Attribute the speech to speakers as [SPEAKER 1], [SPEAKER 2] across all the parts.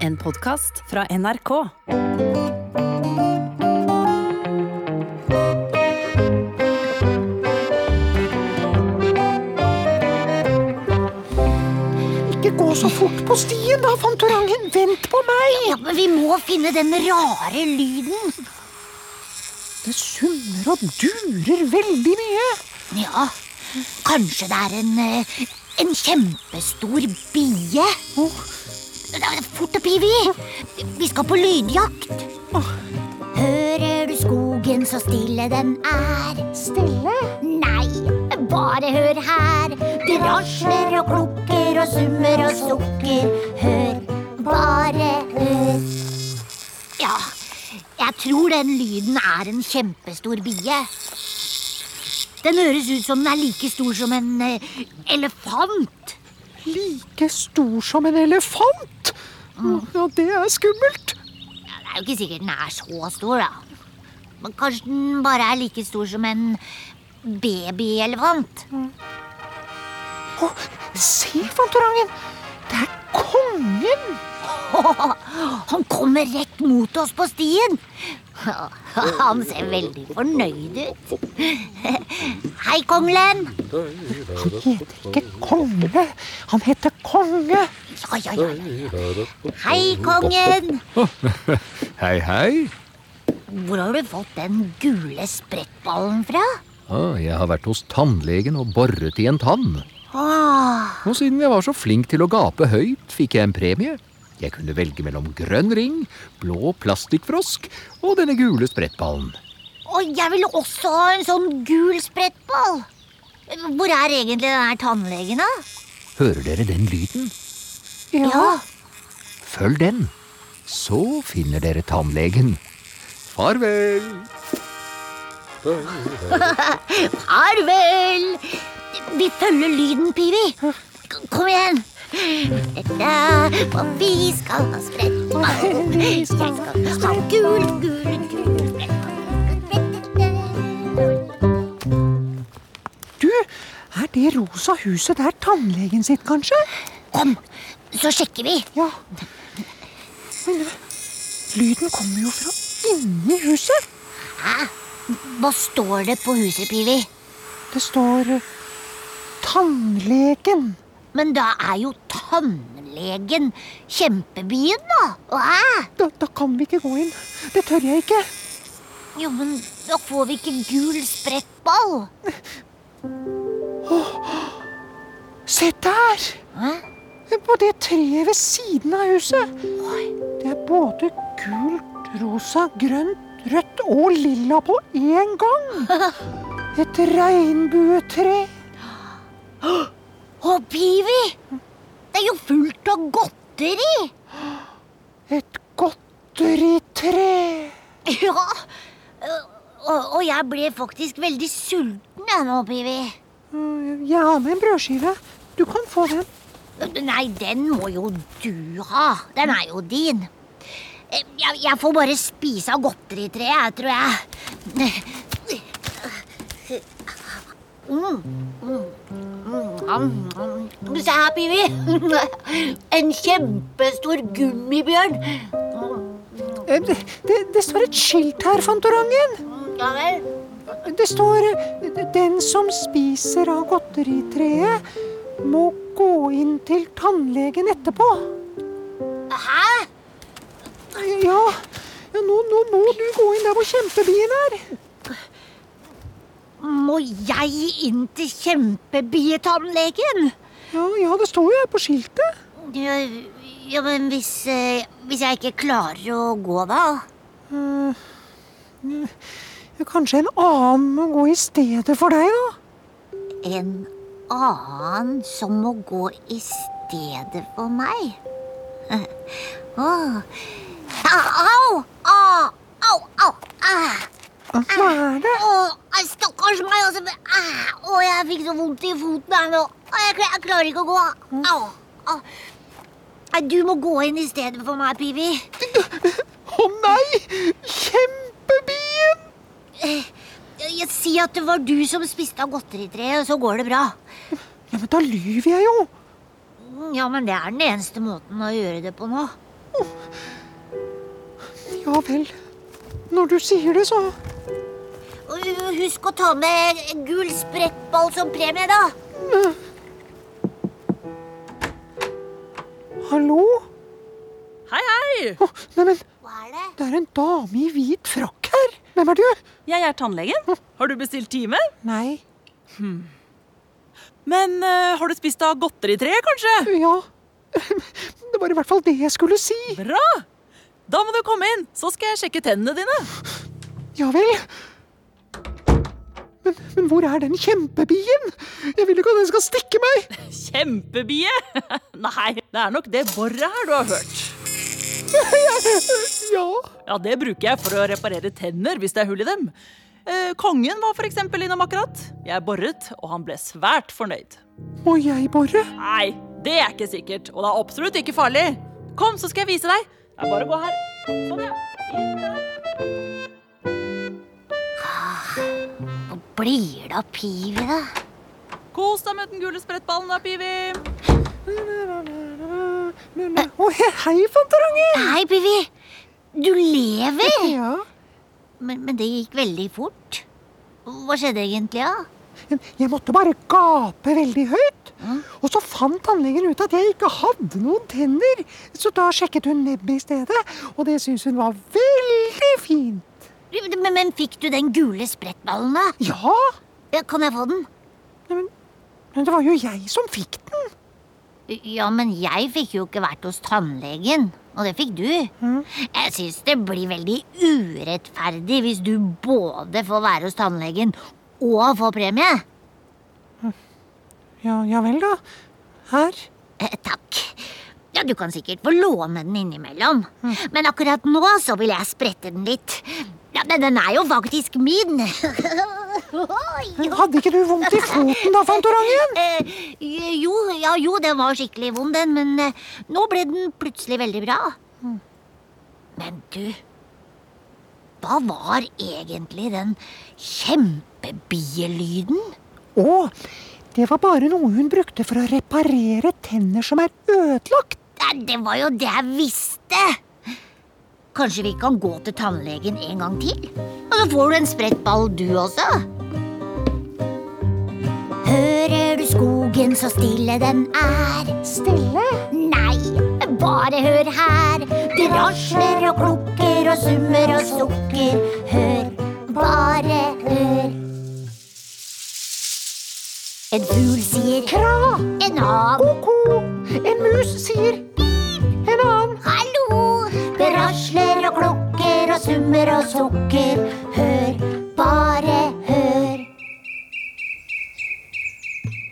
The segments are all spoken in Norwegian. [SPEAKER 1] En podkast fra NRK.
[SPEAKER 2] Ikke gå så fort på stien da, Fantorangen. Vent på meg.
[SPEAKER 3] Ja, men vi må finne den rare lyden.
[SPEAKER 2] Det summer og durer veldig mye.
[SPEAKER 3] Ja, kanskje det er en, eh, en kjempestor bie. Da- Fort opp, Ivi. Vi skal på lydjakt. Hører du skogen så stille den er?
[SPEAKER 2] Stille.
[SPEAKER 3] Nei, bare hør her. Det rasler og klukker og summer og sukker. Hør, bare hør. Ja, jeg tror den lyden er en kjempestor bie. Den høres ut som den er like stor som en eh, elefant.
[SPEAKER 2] Like stor som en elefant. Ja, det er skummelt.
[SPEAKER 3] Ja, det er jo ikke sikkert den er så stor, da. Men kanskje den bare er like stor som en babyelefant.
[SPEAKER 2] Å, se, Fantorangen. Det er kongen.
[SPEAKER 3] Han kommer rett mot oss på stien. Han ser veldig fornøyd ut. Hei, konglen.
[SPEAKER 2] Han heter ikke konge. Han heter konge.
[SPEAKER 3] Ja, ja, ja. Hei, kongen.
[SPEAKER 4] Hei, hei.
[SPEAKER 3] Hvor har du fått den gule sprettballen fra?
[SPEAKER 4] Ah, jeg har vært hos tannlegen og boret i en tann.
[SPEAKER 2] Ah,
[SPEAKER 3] Åh,
[SPEAKER 4] Og siden jeg var så flink til å gape høyt, fikk jeg en premie. Jeg kunne velge mellom grønn ring, blå plastikkfrosk og denne gule sprettballen.
[SPEAKER 3] og jeg ville også ha en sånn gul sprettball. Hvor er egentlig den her tannlegen, da?
[SPEAKER 4] Hører dere den lyden? Følg den. Så finner dere tannlegen. Farvel.
[SPEAKER 3] Farvel! Vi følger lyden, Pivi. K- Kom igjen. Dette er hva vi skal ha spredt. Jeg skal ha gul, gul, gul spredt.
[SPEAKER 2] Du, er det rosa huset der tannlegen sitt, kanskje?
[SPEAKER 3] Kom, så sjekker vi.
[SPEAKER 2] Ja. Men eh, lyden kommer jo fra inni huset.
[SPEAKER 3] Hva står det på huset, Pivi?
[SPEAKER 2] Det står eh, Tannlegen.
[SPEAKER 3] Men da er jo tannlegen kjempebyen, da. Hva?
[SPEAKER 2] Da, da kan vi ikke gå inn. Det tør jeg ikke.
[SPEAKER 3] Jo, men da får vi ikke gul sprettball.
[SPEAKER 2] Se der!
[SPEAKER 3] Hæ?
[SPEAKER 2] På det treet ved siden av huset. Det er både gult, rosa, grønt, rødt og lilla på én gang. Et regnbuetre.
[SPEAKER 3] Å, Pivi! Det er jo fullt av godteri!
[SPEAKER 2] Et godteritre.
[SPEAKER 3] Ja! øh, Og, og jeg ble faktisk veldig sulten jeg nå, Pivi.
[SPEAKER 2] Mm, Jeg har med en brødskive. Du kan få den.
[SPEAKER 3] Nei, den må jo du ha. Den er jo din. Eh, Jeg, jeg får bare spise av godteritreet, jeg, tror jeg. Mm, mm, mm, mm. Se her, Pivi. En kjempestor gummibjørn.
[SPEAKER 2] Eh, Det, det, det står et skilt her, Fantorangen.
[SPEAKER 3] Ja vel.
[SPEAKER 2] Det står eh, 'Den som spiser av godteritreet, må gå inn til tannlegen etterpå'.
[SPEAKER 3] Hæ?
[SPEAKER 2] Eh, Ja, ja nå, nå må du gå inn der hvor kjempebien er.
[SPEAKER 3] Må jeg inn til kjempebietannlegen?
[SPEAKER 2] Ja, ja, det står jo her på skiltet.
[SPEAKER 3] Ja, ja, men hvis, eh, hvis jeg ikke klarer å gå, da?
[SPEAKER 2] Ja, Kanskje en annen må gå i stedet for deg, da?
[SPEAKER 3] En annen som må gå i stedet for meg? Åh. Au! Au! Au! au. Ah.
[SPEAKER 2] Hva er det?
[SPEAKER 3] Åh, ai, stakkars meg! Altså. men, ah, Åh, jeg fikk så vondt i foten her nå. Åh, Jeg, kla- jeg klarer ikke å gå. Au! au. Nei, Du må gå inn i stedet for meg, Pivi.
[SPEAKER 2] Å nei! Kjempebien!
[SPEAKER 3] Jeg Si at det var du som spiste av godteritreet, så går det bra.
[SPEAKER 2] Ja, men da lyver jeg jo.
[SPEAKER 3] Mm, Ja, men det er den eneste måten å gjøre det på nå.
[SPEAKER 2] Ja vel. Når du sier det, så
[SPEAKER 3] Og Husk å ta med gul sprettball som premie, da.
[SPEAKER 2] Hallo?
[SPEAKER 5] Hei, hei!
[SPEAKER 2] Å, nei, men
[SPEAKER 3] Hva er det?
[SPEAKER 2] det er en dame i hvit frakk her. Hvem er du?
[SPEAKER 5] Jeg er tannlegen. Har du bestilt time?
[SPEAKER 2] Nei.
[SPEAKER 5] Men eh, har du spist av godter i treet, kanskje?
[SPEAKER 2] Ja. Det var i hvert fall det jeg skulle si.
[SPEAKER 5] Bra! Da må du komme inn, så skal jeg sjekke tennene dine.
[SPEAKER 2] Ja vel. Men, men hvor er den kjempebien? Jeg vil ikke at den skal stikke meg.
[SPEAKER 5] Kjempebie! Nei, det er nok det boret her du har hørt.
[SPEAKER 2] Ja.
[SPEAKER 5] Ja, det bruker jeg for å reparere tenner hvis det er hull i dem. Eh, kongen var for eksempel innom akkurat. Jeg boret, og han ble svært fornøyd.
[SPEAKER 2] Må jeg bore?
[SPEAKER 5] Nei, det er ikke sikkert, og det er absolutt ikke farlig. Kom, så skal jeg vise deg. Det er bare å gå her. Sånn, ja.
[SPEAKER 3] Blir det av pivet, da?
[SPEAKER 5] Kos deg med den gule sprettballen da, Pivi.
[SPEAKER 2] Å, he- hei, Fantorangen.
[SPEAKER 3] Hei, Pivi. Du lever!
[SPEAKER 2] Ja.
[SPEAKER 3] Men, men det gikk veldig fort. Hva skjedde egentlig, da?
[SPEAKER 2] Jeg måtte bare gape veldig høyt. Og så fant tannlegen ut at jeg ikke hadde noen tenner. Så da sjekket hun nebbet i stedet, og det syntes hun var veldig fint.
[SPEAKER 3] Men, men fikk du den gule sprettballen, da?
[SPEAKER 2] Ja,
[SPEAKER 3] Ja, Kan jeg få den?
[SPEAKER 2] men det var jo jeg som fikk den.
[SPEAKER 3] Ja, men jeg fikk jo ikke vært hos tannlegen. Og det fikk du. Hm? Jeg syns det blir veldig urettferdig hvis du både får være hos tannlegen og få premie.
[SPEAKER 2] Ja, ja vel, da. Her.
[SPEAKER 3] Eh, takk. Ja, Du kan sikkert få låne den innimellom. Men akkurat nå så vil jeg sprette den litt. Ja, Men den er jo faktisk min. Oi.
[SPEAKER 2] Men hadde ikke du vondt i foten da, Fantorangen?
[SPEAKER 3] Eh, jo, ja, jo, den var skikkelig vond, den, men eh, nå ble den plutselig veldig bra. Men du Hva var egentlig den kjempebielyden?
[SPEAKER 2] Å, det var bare noe hun brukte for å reparere tenner som er ødelagt.
[SPEAKER 3] Nei, Det var jo det jeg visste! Kanskje vi kan gå til tannlegen en gang til? Og så får du en spredt ball, du også. Hører du skogen så stille den er?
[SPEAKER 2] Stille?
[SPEAKER 3] Nei, bare hør her. Det rasler og klukker og summer og sukker. Hør, bare hør. En fugl sier kra, en annen
[SPEAKER 2] Ko-ko. En mus sier pip. En annen.
[SPEAKER 3] Hallo! Det rasler og klukker og summer og sukker. Hør, bare hør.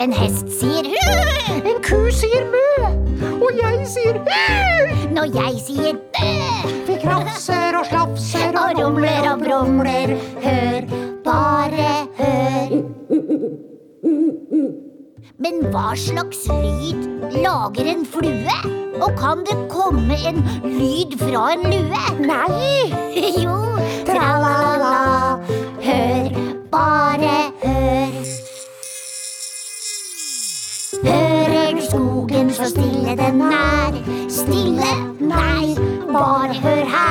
[SPEAKER 3] En hest sier hø
[SPEAKER 2] En ku sier mø. Og jeg sier æ.
[SPEAKER 3] når jeg sier bø.
[SPEAKER 2] Vi krafser og slafser
[SPEAKER 3] Og rumler og brumler. Hør, bare hør. Men hva slags lyd lager en flue? Og kan det komme en lyd fra en lue? Nei! jo, tra-la-la-la. Hør, bare hør. Hører du skogen så stille den er? Stille? Nei, bare hør her.